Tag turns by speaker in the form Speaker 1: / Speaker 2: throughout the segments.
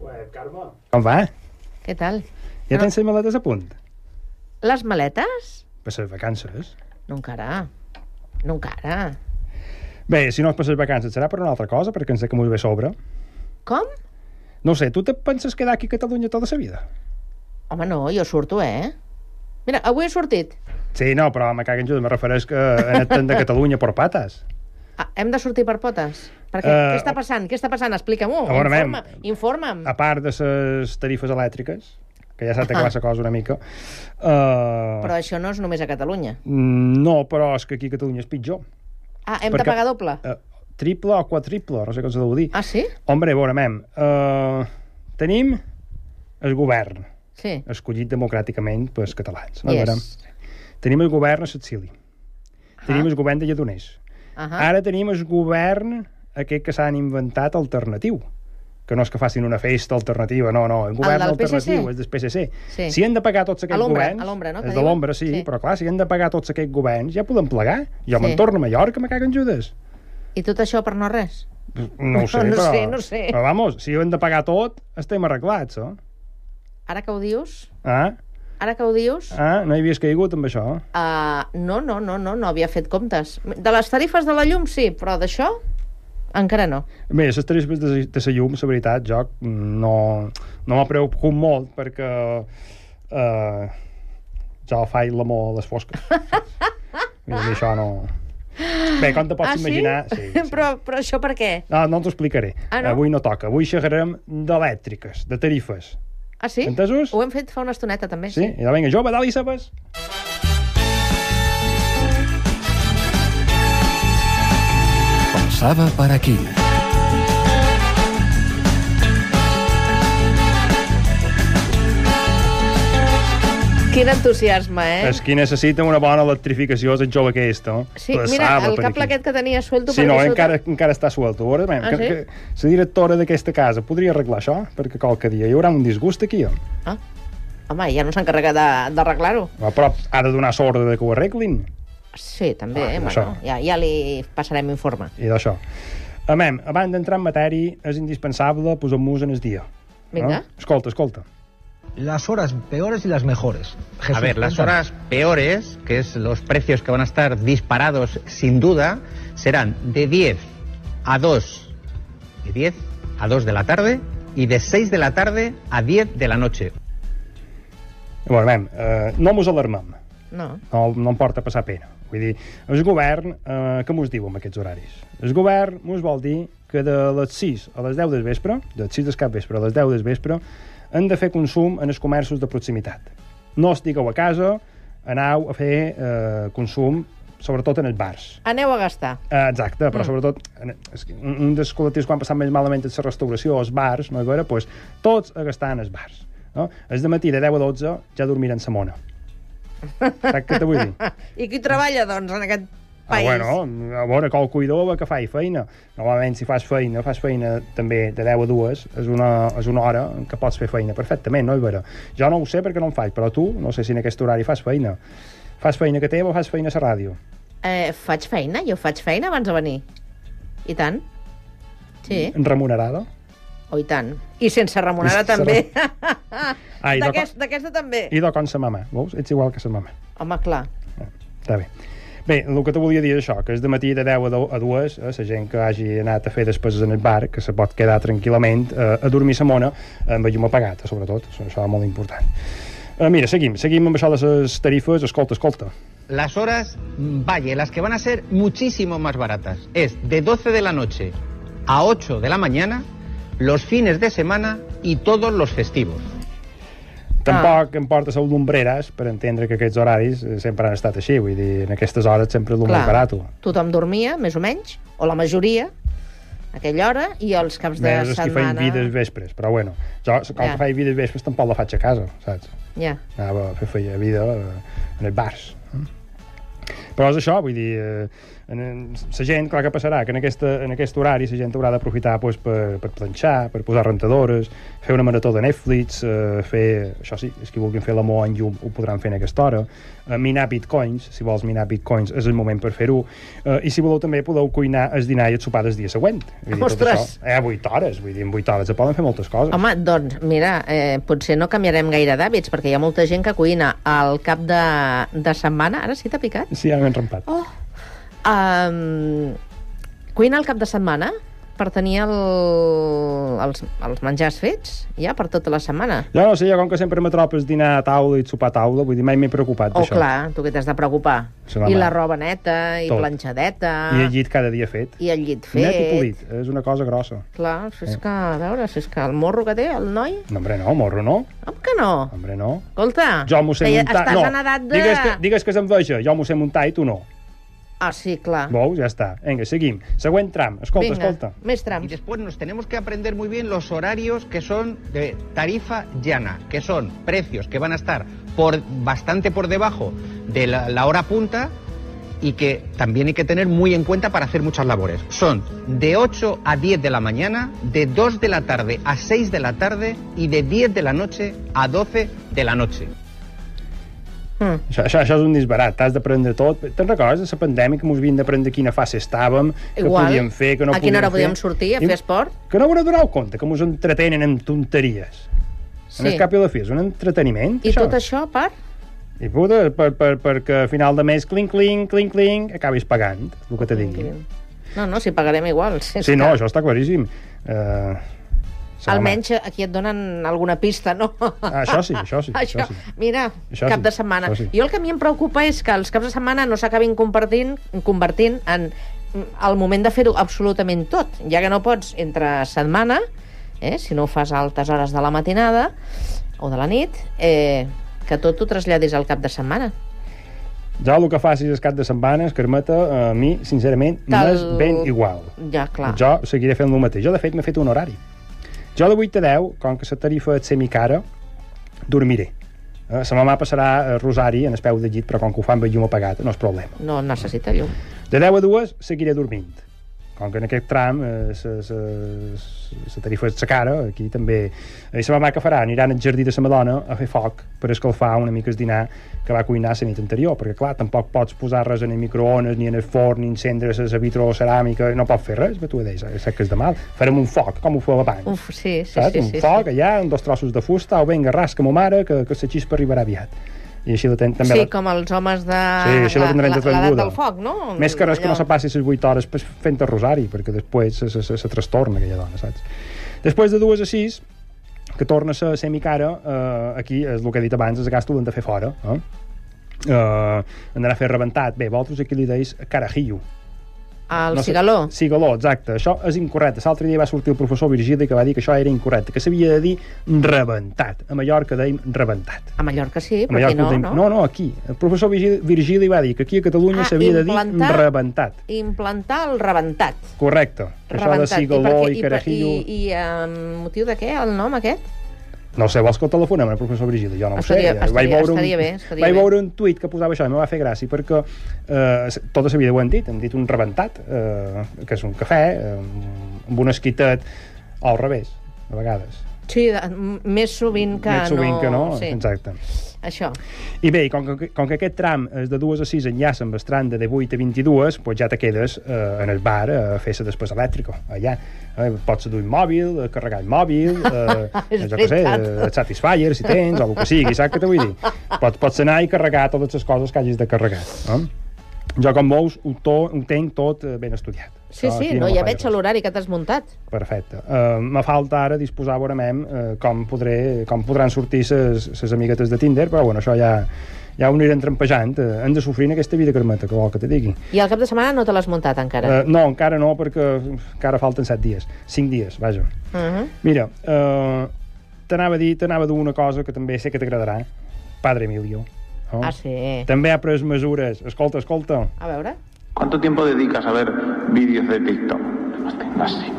Speaker 1: Eh, Carme,
Speaker 2: Com va?
Speaker 3: Què tal?
Speaker 2: Ja
Speaker 3: No.
Speaker 2: tens les maletes a punt?
Speaker 3: Les maletes?
Speaker 2: Per les vacances.
Speaker 3: No encara. No encara.
Speaker 2: Bé, si no és per les vacances, serà per una altra cosa, perquè ens sé que m'ho ve a sobre.
Speaker 3: Com?
Speaker 2: No ho sé, tu te penses quedar aquí a Catalunya tota la vida?
Speaker 3: Home, no, jo surto, eh? Mira, avui he sortit.
Speaker 2: Sí, no, però me caguen jo, me refereix que he anat tant de Catalunya per pates.
Speaker 3: Ah, hem de sortir per potes. Per què?
Speaker 2: Eh,
Speaker 3: què està passant? Què està passant? Explica-m'ho.
Speaker 2: A veure, Ah. mem.
Speaker 3: Informa'm. Informa'm.
Speaker 2: A part de les tarifes elèctriques, que ja s'ha acabat la cosa una mica. Uh,
Speaker 3: Però això no és només a Catalunya.
Speaker 2: No, però és que aquí a Catalunya és pitjor.
Speaker 3: Ah, hem
Speaker 2: Perquè-
Speaker 3: de pagar doble.
Speaker 2: Uh, triple o quadriple, no sé com s'ha de dir.
Speaker 3: Ah, sí?
Speaker 2: Hombre, a veure, mem, uh, tenim el govern,
Speaker 3: Sí.
Speaker 2: escollit democràticament pels catalans. No? A veure,
Speaker 3: Yes.
Speaker 2: Tenim el govern a Sicília.
Speaker 3: Ah.
Speaker 2: Tenim el govern de Lledoners.
Speaker 3: Ahà.
Speaker 2: Ara tenim el govern aquest que s'han inventat alternatiu que no és que facin una festa alternativa, no, no, un govern
Speaker 3: del
Speaker 2: alternatiu,
Speaker 3: PSC?
Speaker 2: és del PSC.
Speaker 3: Sí.
Speaker 2: Si han de pagar tots aquests
Speaker 3: l'ombra,
Speaker 2: governs...
Speaker 3: a l'ombra, no, que
Speaker 2: És de
Speaker 3: diuen?
Speaker 2: l'ombra, sí,
Speaker 3: Sí.
Speaker 2: però clar, si han de pagar tots aquests governs, ja podem plegar. Jo
Speaker 3: Sí.
Speaker 2: me'n torno a Mallorca, me caguen judes.
Speaker 3: I tot això per no res?
Speaker 2: No ho sé,
Speaker 3: No
Speaker 2: però...
Speaker 3: sé, no sé.
Speaker 2: Però vamos, si ho hem de pagar tot, estem arreglats, eh?
Speaker 3: Ara que ho dius,
Speaker 2: Ah,
Speaker 3: ara que ho dius,
Speaker 2: ah no hi havies caigut amb això?
Speaker 3: uh, no, no, no, no, no havia fet comptes. De les tarifes de la llum, sí, però d'això encara no.
Speaker 2: Bé, les tarifes de, de la llum, la veritat, jo no, no m'ha preocupat molt perquè eh, jo faig l'amor a les fosques. I a mi això no... Bé, com te pots imaginar...
Speaker 3: Ah, Sí, sí. però, però això per què?
Speaker 2: No, no t'ho explicaré.
Speaker 3: Ah, no?
Speaker 2: Avui no toca. Avui xerrarem d'elèctriques, de tarifes.
Speaker 3: Ah, sí?
Speaker 2: Entesos?
Speaker 3: Ho hem fet fa una estoneta, també,
Speaker 2: Sí? I vinga, jove, dalt i sabes.
Speaker 4: Pasaba para aquí.
Speaker 3: Quin entusiasme, eh?
Speaker 2: És qui necessita una bona electrificació és el jove aquest, no?
Speaker 3: Sí,
Speaker 2: Passava
Speaker 3: mira, el
Speaker 2: per
Speaker 3: cap
Speaker 2: aquí.
Speaker 3: aquest que tenia suelto...
Speaker 2: Sí,
Speaker 3: per
Speaker 2: no,
Speaker 3: aquí
Speaker 2: encara, encara està suelto. A Veure, ah,
Speaker 3: Ah,
Speaker 2: que,
Speaker 3: sí?
Speaker 2: que, la directora d'aquesta casa podria arreglar això? Perquè qualque dia hi haurà un disgust aquí. eh?
Speaker 3: Ah, home, ja no s'ha encarregat de- d'arreglar-ho.
Speaker 2: Home, Però ha de donar l'ordre de que ho arreglin,
Speaker 3: Sí, també,
Speaker 2: Ah,
Speaker 3: eh,
Speaker 2: això.
Speaker 3: bueno, ja, ja li passarem informe.
Speaker 2: i d'això. Amem, abans d'entrar en matèria, és indispensable posar-nos en el dia.
Speaker 3: Vinga.
Speaker 2: No? Escolta, escolta.
Speaker 5: Las horas peores y las mejores. Jesús,
Speaker 6: a ver, las
Speaker 5: cuéntame.
Speaker 6: horas peores, que es los precios que van a estar disparados sin duda, serán de 10 a 2, de 10 a 2 de la tarde y de 6 de la tarde a 10 de la noche.
Speaker 2: Bueno, amem, eh, no mos alarmem.
Speaker 3: No.
Speaker 2: No, no em porta a passar pena. Vull dir, el govern, eh, què mos diu amb aquests horaris? El govern mos vol dir que de les 6 a les 10 del vespre, de les 6 del cap vespre a les 10 del vespre, hem de fer consum en els comerços de proximitat. No estigueu a casa, anau a fer eh, consum, sobretot en els bars.
Speaker 3: Aneu a gastar.
Speaker 2: Eh, Exacte, però mm. sobretot en- és que un, un dels col·lectius quan passat més malament és la restauració, els bars, no hi veure, doncs, tots a gastar en els bars. No? Els de matí de 10 a 12 ja dormiran sa mona. Saps què te vull dir?
Speaker 3: I qui treballa, doncs, en aquest
Speaker 2: Ah,
Speaker 3: país?
Speaker 2: bueno, a veure, qual cuidor que faci feina. Normalment, si fas feina, fas feina també de 10 a 2, és una, és una hora en què pots fer feina perfectament, no, Ibera? Jo no ho sé perquè no en faig, però tu, no sé si en aquest horari fas feina. Fas feina que teva o fas feina a la ràdio?
Speaker 3: Eh, faig feina, jo faig feina abans de venir. I tant. Sí,
Speaker 2: Remunerada?
Speaker 3: o i tant. I sense
Speaker 2: Mm.
Speaker 3: remunerar
Speaker 2: I sense
Speaker 3: també.
Speaker 2: Ah, i de,
Speaker 3: D'aquest- D'aquesta també.
Speaker 2: i de con sa mama, veus? Ets igual que sa mama.
Speaker 3: Home, clar.
Speaker 2: Està bé. Bé, el que te volia dir és això, que és de matí de 10 a do- a 2, eh, la gent que hagi anat a fer despeses en el bar, que se pot quedar tranquil·lament eh, a dormir sa mona, amb la llum apagada, sobretot. Això, això és molt important. Eh, mira, seguim. Seguim amb això de les tarifes. Escolta, escolta.
Speaker 3: Ah.
Speaker 6: Las horas mm, valle, las que van a ser muchísimo más baratas, es de 12 de la noche a 8 de la mañana, los fines de semana y todos los festivos.
Speaker 2: Tampoc em porta a l'ombreres per entendre que aquests horaris eh, sempre han estat així. Vull dir, en aquestes hores sempre és el
Speaker 3: clar.
Speaker 2: més barat.
Speaker 3: Tothom dormia, més o menys, o la majoria, a aquella hora, i els caps de
Speaker 2: Més els que feien
Speaker 3: setmana...
Speaker 2: vides vespres. Però bueno, jo, com
Speaker 3: Ja.
Speaker 2: que faig vides vespres, tampoc la faig a casa, saps?
Speaker 3: Ja.
Speaker 2: anava a fer feia vida eh, en els bars. eh. Però és això, vull dir, eh, en, en, la gent, clar que passarà, que en, aquesta, en aquest horari la gent haurà d'aprofitar pues, per, per planxar, per posar rentadores, fer una marató de Netflix, eh, fer, això sí, els que vulguin fer l'amor en llum ho podran fer en aquesta hora, eh, minar bitcoins, si vols minar bitcoins és el moment per fer-ho, eh, i si voleu també podeu cuinar el dinar i el sopar del dia següent. Vull tot
Speaker 3: Ostres!
Speaker 2: Això, eh, 8 hores, vull dir, en 8 hores se poden fer moltes coses.
Speaker 3: Home, doncs, mira, eh, potser no canviarem gaire d'hàbits, perquè hi ha molta gent que cuina al cap de, de setmana... Ara sí t'ha picat?
Speaker 2: Sí, ara m'he enrampat.
Speaker 3: Oh! Um, cuina al cap de setmana per tenir el, els, els menjars fets, ja, per tota la setmana.
Speaker 2: Jo no sé, jo com que sempre me tropes dinar a taula i sopar a taula, vull dir, mai m'he preocupat
Speaker 3: Oh,
Speaker 2: d'això.
Speaker 3: clar, tu que t'has de preocupar.
Speaker 2: Se va
Speaker 3: I
Speaker 2: mal.
Speaker 3: la roba neta, i
Speaker 2: Tot.
Speaker 3: planxadeta...
Speaker 2: I el llit cada dia fet.
Speaker 3: I el llit fet.
Speaker 2: Net i polit, és una cosa grossa.
Speaker 3: Clar, si
Speaker 2: Eh.
Speaker 3: és que, a veure, si és que el morro que té, el noi...
Speaker 2: No, hombre, no, morro no.
Speaker 3: Home, que no.
Speaker 2: Hombre, no.
Speaker 3: Escolta,
Speaker 2: Jo m'ho sé
Speaker 3: deia-
Speaker 2: muntar.
Speaker 3: estàs
Speaker 2: no.
Speaker 3: en edat de...
Speaker 2: Digues que, digues que és enveja, jo m'ho sé muntar i tu no.
Speaker 3: Ah, sí, clar.
Speaker 2: Veus? Ja està. Vinga, seguim. Següent tram. Escolta,
Speaker 3: Vinga,
Speaker 2: escolta.
Speaker 3: més
Speaker 6: Y
Speaker 3: trams.
Speaker 6: después nos tenemos que aprender muy bien los horarios que son de tarifa llana, que son precios que van a estar por bastante por debajo de la, la hora punta y que también hay que tener muy en cuenta para hacer muchas labores. Son de 8 a 10 de la mañana, de 2 de la tarde a 6 de la tarde y de 10 de la noche a 12 de la noche.
Speaker 3: Mm.
Speaker 2: Això, això, això és un disbarat, t'has d'aprendre tot. Te'n recordes de la pandèmia que mos havien d'aprendre quina fase estàvem, que
Speaker 3: Igual.
Speaker 2: podíem fer, que no
Speaker 3: a quina hora
Speaker 2: podíem
Speaker 3: podíem
Speaker 2: fer?
Speaker 3: sortir a
Speaker 2: I-
Speaker 3: fer esport?
Speaker 2: Que no vos doneu compte, que mos entretenen amb tonteries.
Speaker 3: Sí.
Speaker 2: En el cap i a la fi, és un entreteniment,
Speaker 3: I tot això, a part?
Speaker 2: I puta, per, per, perquè a final de mes, clink, clink, clink, clink, acabis pagant, el que te digui.
Speaker 3: No, no, si pagarem igual. Si és
Speaker 2: Sí, no,
Speaker 3: que
Speaker 2: això està claríssim. Uh,
Speaker 3: Almenys aquí et donen alguna pista, no?
Speaker 2: Ah, això sí, això sí,
Speaker 3: Això,
Speaker 2: això sí.
Speaker 3: mira,
Speaker 2: Això
Speaker 3: cap
Speaker 2: sí,
Speaker 3: de setmana.
Speaker 2: això sí.
Speaker 3: Jo el que a mi em preocupa és que els caps de setmana no s'acabin compartint, convertint en mm, el moment de fer-ho absolutament tot, ja que no pots entre setmana, eh, si no ho fas a altes hores de la matinada o de la nit, eh, que tot ho traslladis al cap de setmana.
Speaker 2: Ja el que facis el cap de setmanes, Carmeta, a mi, sincerament,
Speaker 3: Tal-
Speaker 2: m'és ben igual.
Speaker 3: Ja, clar.
Speaker 2: Jo seguiré fent el mateix. Jo, de fet, m'he fet un horari. Jo de 8 a 10, com que la tarifa és semicara, dormiré. Eh, La mamà passarà eh, Rosari en el peu de llit, però com que ho fan amb el llum apagat, no és problema.
Speaker 3: No necessita llum.
Speaker 2: De 10 a 2 seguiré dormint. Com que en aquest tram eh, se, se, se tarifa és la cara, aquí també... eh, I la mamà que farà? Aniran al jardí de la Madonna a fer foc per escalfar una mica el dinar que va cuinar la nit anterior, perquè clar, tampoc pots posar res en el microones, ni en el forn, ni encendre la vitro ceràmica, no pots fer res, però tu ho deies, sé que és de mal. Farem un foc, com ho feu abans.
Speaker 3: Uf, sí, sí,
Speaker 2: Saps?
Speaker 3: sí.
Speaker 2: un
Speaker 3: sí,
Speaker 2: foc
Speaker 3: sí.
Speaker 2: allà, amb dos trossos de fusta, o vinga, rasca, mo mare, que, que la xispa arribarà aviat. I així la ten, també
Speaker 3: Sí,
Speaker 2: la...
Speaker 3: com els homes de...
Speaker 2: Sí, això la tindrem
Speaker 3: L'edat
Speaker 2: entretinguda.
Speaker 3: del foc, no?
Speaker 2: Més que res que no
Speaker 3: Allò.
Speaker 2: se passi les 8 hores pues, fent el rosari, perquè després se, se, se, se trastorna aquella dona, saps? Després de dues a 6, que torna a ser semicara, eh, aquí és el que he dit abans, es gasto l'han de fer fora. Eh? Eh, han d'anar a fer rebentat. Bé, vosaltres aquí li deies carajillo.
Speaker 3: Al
Speaker 2: No sé-
Speaker 3: cigaló.
Speaker 2: Cigaló, exacte. Això és incorrecte. L'altre dia va sortir el professor Virgili que va dir que això era incorrecte, que s'havia de dir rebentat. A Mallorca deim rebentat.
Speaker 3: A Mallorca sí,
Speaker 2: A
Speaker 3: però aquí
Speaker 2: Mallorca
Speaker 3: no,
Speaker 2: ho deim...
Speaker 3: no?
Speaker 2: no, no, aquí. El professor Virgili, Virgili va dir que aquí a Catalunya
Speaker 3: Ah,
Speaker 2: s'havia de dir
Speaker 3: implantar-
Speaker 2: rebentat.
Speaker 3: Implantar el rebentat.
Speaker 2: Correcte. Això de
Speaker 3: Rebentat.
Speaker 2: cigaló
Speaker 3: per
Speaker 2: i,
Speaker 3: què-
Speaker 2: carajillo...
Speaker 3: I, i, i amb motiu de què, el nom aquest?
Speaker 2: No sé, vols que el telefonem al professor Brigida? Jo no ho
Speaker 3: Estaria-
Speaker 2: sé. ja.
Speaker 3: estaria-
Speaker 2: un,
Speaker 3: estaria bé, estaria
Speaker 2: vaig
Speaker 3: bé.
Speaker 2: veure un tuit que posava això i em va fer gràcia perquè eh, tota la vida ho han dit, han dit un rebentat, eh, que és un cafè eh, amb un esquitet o al revés, de vegades.
Speaker 3: Sí, de, m- més sovint que
Speaker 2: Més sovint
Speaker 3: no...
Speaker 2: que no,
Speaker 3: Sí,
Speaker 2: exacte.
Speaker 3: això.
Speaker 2: I bé, i com que, com que aquest tram és de 2 a 6 enllaça amb el tram de 18 a 22, doncs ja te quedes eh, en el bar eh, a fer la despesa elèctrica, allà. Eh, pots dur un mòbil, eh, carregar el mòbil, eh,
Speaker 3: És
Speaker 2: jo què sé,
Speaker 3: veritat.
Speaker 2: eh, el Satisfyer, si tens, o el que sigui, saps què te vull dir? Pots, pots anar i carregar totes les coses que hagis de carregar. Eh? Jo, com veus, ho, to, ho tenc tot eh, ben estudiat.
Speaker 3: Sí,
Speaker 2: Això
Speaker 3: sí,
Speaker 2: aquí
Speaker 3: no,
Speaker 2: me
Speaker 3: ja
Speaker 2: falla
Speaker 3: veig
Speaker 2: res.
Speaker 3: l'horari que t'has muntat.
Speaker 2: Perfecte. Uh, me falta ara disposar, veurem, uh, com, podré, com podran sortir les amiguetes de Tinder, però bueno, això ja, ja ho anirem trampejant. Uh, hem de sofrir en aquesta vida, Carmeta, que vol que te digui.
Speaker 3: I al cap de setmana no te l'has muntat encara.
Speaker 2: Uh, no, encara no, perquè encara falten set dies. Cinc dies, vaja.
Speaker 3: Uh -huh.
Speaker 2: Mira, uh, t'anava a dir, t'anava a dir una cosa que també sé que t'agradarà. Padre Emilio. No?
Speaker 3: Ah, sí.
Speaker 2: També ha pres mesures. Escolta, escolta.
Speaker 3: A veure.
Speaker 1: ¿Cuánto tiempo dedicas a ver vídeos de TikTok? No tengo así.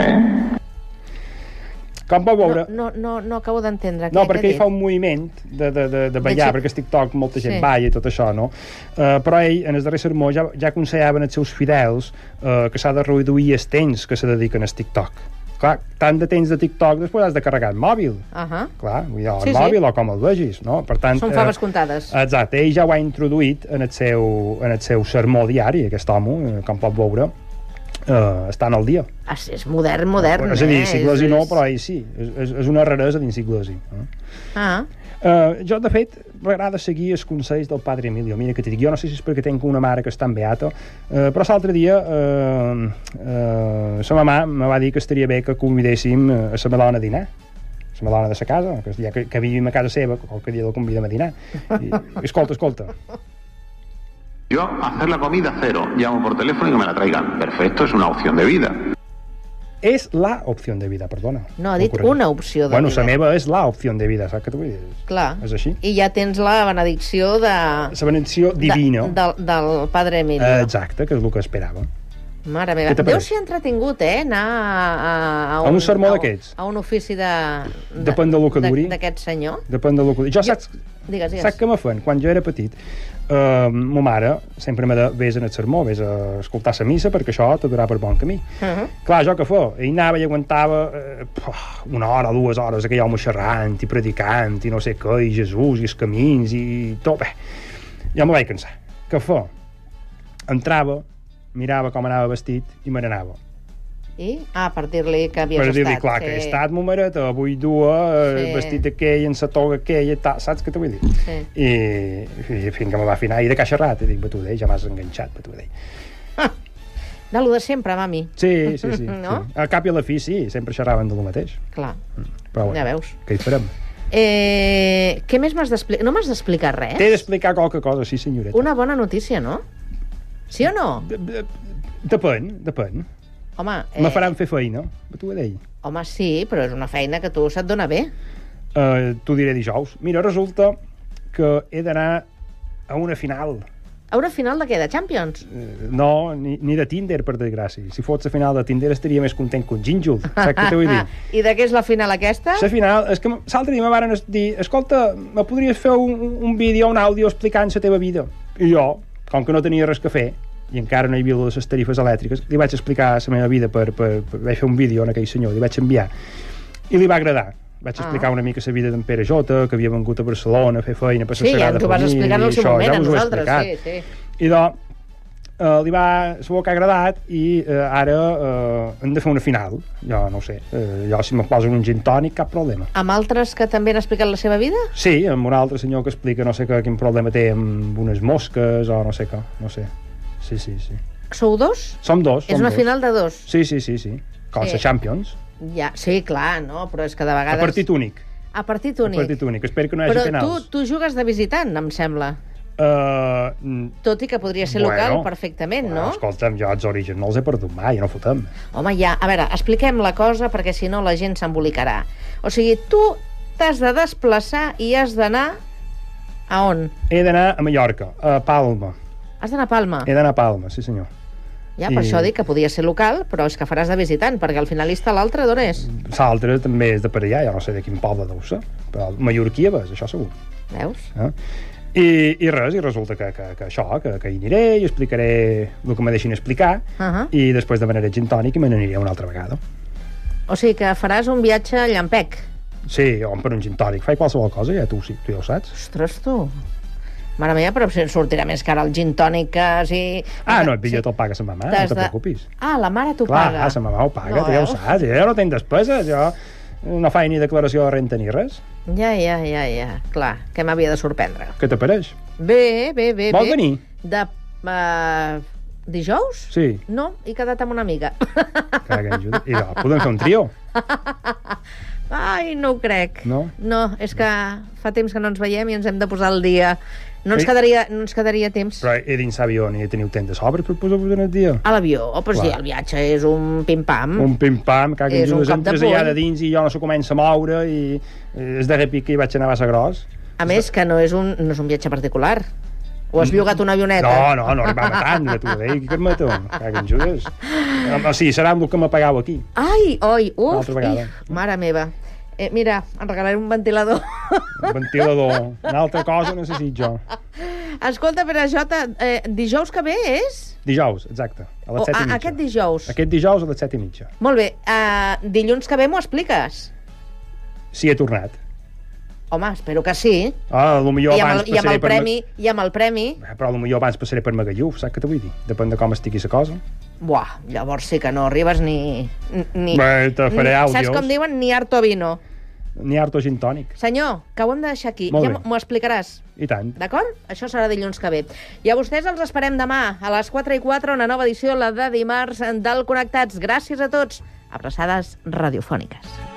Speaker 1: ¿Eh?
Speaker 2: Com vau veure...
Speaker 3: No, no, no, no acabo d'entendre.
Speaker 2: No,
Speaker 3: què-
Speaker 2: perquè
Speaker 3: què
Speaker 2: ell fa
Speaker 3: ha dit?
Speaker 2: un moviment de, de, de, de ballar,
Speaker 3: xip.
Speaker 2: perquè és TikTok, molta gent
Speaker 3: Sí.
Speaker 2: sí. balla i tot això, no? Uh, però ell, en el darrer sermó, ja, ja aconsellaven als seus fidels uh, que s'ha de reduir els temps que se dediquen al TikTok. Clar, tant de temps de TikTok, després has de carregar el mòbil.
Speaker 3: Ahà.
Speaker 2: Clar, vull dir, el
Speaker 3: Sí, sí.
Speaker 2: sí, mòbil o com el vegis, no? Per tant, eh,
Speaker 3: Són faves comptades.
Speaker 2: Exacte, ell ja ho ha introduït en el seu, en el seu sermó diari, aquest home, eh, com pot veure, eh, estan al dia.
Speaker 3: És, és modern, modern.
Speaker 2: és a dir,
Speaker 3: eh?
Speaker 2: Siglosi
Speaker 3: És-
Speaker 2: no,
Speaker 3: és-
Speaker 2: però ell sí. És, és, és una raresa dins Siglosi. Eh?
Speaker 3: Ah,
Speaker 2: Uh, jo, de fet, m'agrada seguir els consells del padre Emilio. Mira que t'hi dic, jo no sé si és perquè tenc una mare que està en beata, uh, però l'altre dia uh, uh, sa mamà me va dir que estaria bé que convidéssim eh, a sa meva dona a dinar la meva dona de sa casa, que, ja que, que vivim a casa seva, qualque dia la convidem a dinar. I, escolta, escolta,
Speaker 1: Yo hacer la comida cero, llamo por teléfono y que me la traigan. Perfecto, es una opción de vida.
Speaker 2: és la opció de vida, perdona.
Speaker 3: No, ha dit
Speaker 2: M'ho corregeix.
Speaker 3: una opció de
Speaker 2: bueno,
Speaker 3: vida.
Speaker 2: Bueno, la meva és la opció de vida, saps què t'ho vull dir?
Speaker 3: clar.
Speaker 2: És així.
Speaker 3: I ja tens la benedicció de...
Speaker 2: La benedicció divina.
Speaker 3: De, del, del Padre Emilio.
Speaker 2: Eh, Exacte, que és el que esperava.
Speaker 3: Mare meva.
Speaker 2: Què t'ha
Speaker 3: Déu
Speaker 2: parit?
Speaker 3: s'hi ha entretingut, eh? Anar a, a,
Speaker 2: A un sermó
Speaker 3: a
Speaker 2: d'aquests.
Speaker 3: A un ofici de... de
Speaker 2: Depèn del que
Speaker 3: de-
Speaker 2: duri.
Speaker 3: D'aquest senyor.
Speaker 2: Depèn del que... Jo saps,
Speaker 3: Digues, digues.
Speaker 2: saps que me fan? Quan jo era petit, eh, ma mare sempre me de vés en el sermó, vés a escoltar la missa, perquè això te durà per bon camí. Uh
Speaker 3: Mhm.
Speaker 2: -huh. Clar, jo què fa? Ell anava i aguantava eh, puf, una hora, dues hores, aquell home xerrant i predicant i no sé què, i Jesús, i els camins, i tot. Bé, jo me vaig cansar. Què fa? Entrava, mirava com anava vestit i me n'anava.
Speaker 3: I? Ah, per dir-li que havies
Speaker 2: Per dir-li,
Speaker 3: estat.
Speaker 2: clar,
Speaker 3: sí.
Speaker 2: que he estat, ma mareta, avui dua sí.
Speaker 3: Sí.
Speaker 2: el vestit aquell, en sa toga aquella, tal, saps què t'ho vull dir?
Speaker 3: Sí.
Speaker 2: I, i fins que me va afinar, i de caixa rat, i dic, batuder, ja m'has enganxat, batuder.
Speaker 3: De lo de sempre, mami.
Speaker 2: Sí, sí, sí.
Speaker 3: No?
Speaker 2: sí. Al cap i a la fi, sí, sempre xerraven del mateix.
Speaker 3: Clar.
Speaker 2: Però
Speaker 3: Ja veus.
Speaker 2: Què hi farem?
Speaker 3: Eh, què més m'has d'explicar? No m'has d'explicar res?
Speaker 2: T'he d'explicar qualque cosa, sí, senyoreta.
Speaker 3: Eh? Una bona notícia, no? Sí o no?
Speaker 2: De- de- Depèn, depèn.
Speaker 3: Home,
Speaker 2: Eh. Me faran fer feina, batuder.
Speaker 3: home, sí, però és una feina que tu se't dona bé.
Speaker 2: Uh, T'ho diré dijous. Mira, resulta que he d'anar a una final
Speaker 3: A una final de què? De Champions?
Speaker 2: Eh, No, ni, ni de Tinder, per desgràcia. Si fots la final de Tinder estaria més content que un gínjol. Saps què t'ho vull dir?
Speaker 3: Ah, I de què és la final aquesta?
Speaker 2: La final, és que m- l'altre dia me varen es- dir escolta, me podries fer un, un vídeo, un àudio explicant la teva vida? I jo, com que no tenia res que fer, i encara no hi havia lo de les tarifes elèctriques, li vaig explicar la meva vida per, per, per... Vaig fer un vídeo en aquell senyor, li vaig enviar. I li va agradar.
Speaker 3: Ah.
Speaker 2: Vaig explicar una mica la vida d'en Pere Jota, que havia vengut a Barcelona a fer feina per la
Speaker 3: Sí, ja
Speaker 2: Sagrada
Speaker 3: ens ho vas
Speaker 2: Família
Speaker 3: explicar en el
Speaker 2: i
Speaker 3: seu
Speaker 2: això,
Speaker 3: moment,
Speaker 2: ja us ho
Speaker 3: a
Speaker 2: he
Speaker 3: nosaltres.
Speaker 2: explicat.
Speaker 3: Sí, sí.
Speaker 2: I doncs, eh, li va, segur que ha agradat i eh, ara eh, hem de fer una final. Jo no ho sé, eh, jo si me posen un gin tònic, cap problema.
Speaker 3: Amb altres que també han explicat la seva vida?
Speaker 2: Sí, amb un altre senyor que explica no sé què, quin problema té amb unes mosques o no sé què, no sé. Sí, sí, sí.
Speaker 3: Sou dos?
Speaker 2: Som dos,
Speaker 3: és
Speaker 2: som
Speaker 3: una
Speaker 2: dos.
Speaker 3: final de dos.
Speaker 2: Sí, sí, sí, sí. Com
Speaker 3: Sí.
Speaker 2: sí. Champions.
Speaker 3: Ja, sí, clar, no? Però és que de
Speaker 2: A
Speaker 3: vegades...
Speaker 2: partit únic.
Speaker 3: A partit
Speaker 2: A
Speaker 3: únic.
Speaker 2: partit únic. Espero que no hi hagi
Speaker 3: Però tu,
Speaker 2: penals.
Speaker 3: tu jugues de visitant, em sembla.
Speaker 2: Uh,
Speaker 3: Tot i que podria ser local perfectament,
Speaker 2: bueno,
Speaker 3: Eh, no?
Speaker 2: Escolta'm, jo els orígens no els he perdut mai, no fotem.
Speaker 3: Home, ja, a veure, expliquem la cosa perquè si no la gent s'embolicarà. O sigui, tu t'has de desplaçar i has d'anar a on?
Speaker 2: He d'anar a Mallorca, a Palma.
Speaker 3: Has d'anar a Palma.
Speaker 2: He d'anar a Palma, sí senyor.
Speaker 3: Ja, per
Speaker 2: i-
Speaker 3: això dic que podia ser local, però és que faràs de visitant, perquè al finalista l'altre d'on és?
Speaker 2: Mm. L'altre també és de per allà, jo no sé de quin poble deu ser, però mallorquí és, això segur.
Speaker 3: Veus?
Speaker 2: Eh? I, I res, i resulta que, que, que això, que, que hi aniré i explicaré el que me deixin explicar
Speaker 3: Ahà.
Speaker 2: i després demanaré gin tònic i me n'aniré una altra vegada.
Speaker 3: O sigui que faràs un viatge a Llampec.
Speaker 2: Sí, o em per un gin tònic, faig qualsevol cosa, ja tu, ho- tu ja ho saps.
Speaker 3: Ostres, tu. Mare meva, però si et sortirà més cara el gin tònic que si...
Speaker 2: Ah, no, el bitllet el paga sa mamà, no
Speaker 3: T'has
Speaker 2: te
Speaker 3: de-
Speaker 2: preocupis.
Speaker 3: Ah, la mare t'ho
Speaker 2: Clar,
Speaker 3: paga.
Speaker 2: ah, sa mamà ho paga,
Speaker 3: No, eh?
Speaker 2: no, tu ja ho
Speaker 3: veus?
Speaker 2: saps, jo no tinc despeses, jo no faig ni declaració de renta ni res.
Speaker 3: Ja, ja, ja, ja. Clar, que m'havia de sorprendre.
Speaker 2: Què t'apareix?
Speaker 3: Bé, bé, bé.
Speaker 2: Vol
Speaker 3: bé.
Speaker 2: venir?
Speaker 3: De... Uh, dijous?
Speaker 2: Sí.
Speaker 3: No, he quedat amb una amiga.
Speaker 2: Caga, en Judes. I va, podem fer un trio.
Speaker 3: Ai, no ho crec.
Speaker 2: No?
Speaker 3: No, és que fa temps que no ens veiem i ens hem de posar al dia. No ens
Speaker 2: Sí.
Speaker 3: quedaria, no ens quedaria temps.
Speaker 2: Però he dins l'avió ni teniu tendes sobres per posar-vos en el dia.
Speaker 3: A l'avió, oh, però sí,
Speaker 2: Clar.
Speaker 3: el viatge és un pim-pam.
Speaker 2: un pim-pam, caga en
Speaker 3: Mm. És un
Speaker 2: Judes,
Speaker 3: cop de
Speaker 2: entres allà
Speaker 3: puny.
Speaker 2: de dins i jo no s'ho comença a moure i eh, es de repique i vaig anar a Bassa Gros.
Speaker 3: A més, que no és un, no és un viatge particular. O has llogat una avioneta?
Speaker 2: Mm. No, no, no arribava tant de tu, eh? Què et mato? Caga en Judes. O sigui, serà amb el que m'apagau aquí.
Speaker 3: Ai, oi,
Speaker 2: Una
Speaker 3: uf,
Speaker 2: altra vegada.
Speaker 3: ih, mare meva. Eh, mira, em regalaré un ventilador.
Speaker 2: Un ventilador. Una altra cosa necessit jo.
Speaker 3: Escolta, Pere Jota, eh, dijous que ve és?
Speaker 2: Dijous, exacte, a les
Speaker 3: O,
Speaker 2: set i
Speaker 3: Oh, a,
Speaker 2: mitja.
Speaker 3: aquest dijous.
Speaker 2: Aquest dijous a les set i mitja.
Speaker 3: Molt bé, eh, dilluns que ve m'ho expliques?
Speaker 2: Si he tornat.
Speaker 3: Home, espero que sí.
Speaker 2: Ah, potser
Speaker 3: I amb,
Speaker 2: abans
Speaker 3: el, i amb el
Speaker 2: per... Ma-
Speaker 3: premi, i amb el premi...
Speaker 2: Eh, Però potser abans passaré per Magalluf, saps què t'ho vull dir? Depèn de com estigui la cosa.
Speaker 3: Buah, llavors sí que no arribes ni... ni
Speaker 2: Bé, te faré
Speaker 3: ni- Saps
Speaker 2: àudios.
Speaker 3: com diuen? Ni harto vino.
Speaker 2: Ni harto gin tònic.
Speaker 3: Senyor, que ho hem de deixar aquí.
Speaker 2: Molt
Speaker 3: ja
Speaker 2: bé.
Speaker 3: m'ho explicaràs.
Speaker 2: I tant.
Speaker 3: D'acord? Això serà dilluns que ve. I a vostès els esperem demà, a les 4 i 4, una nova edició, la de dimarts del Connectats. Gràcies a tots. Abraçades radiofòniques.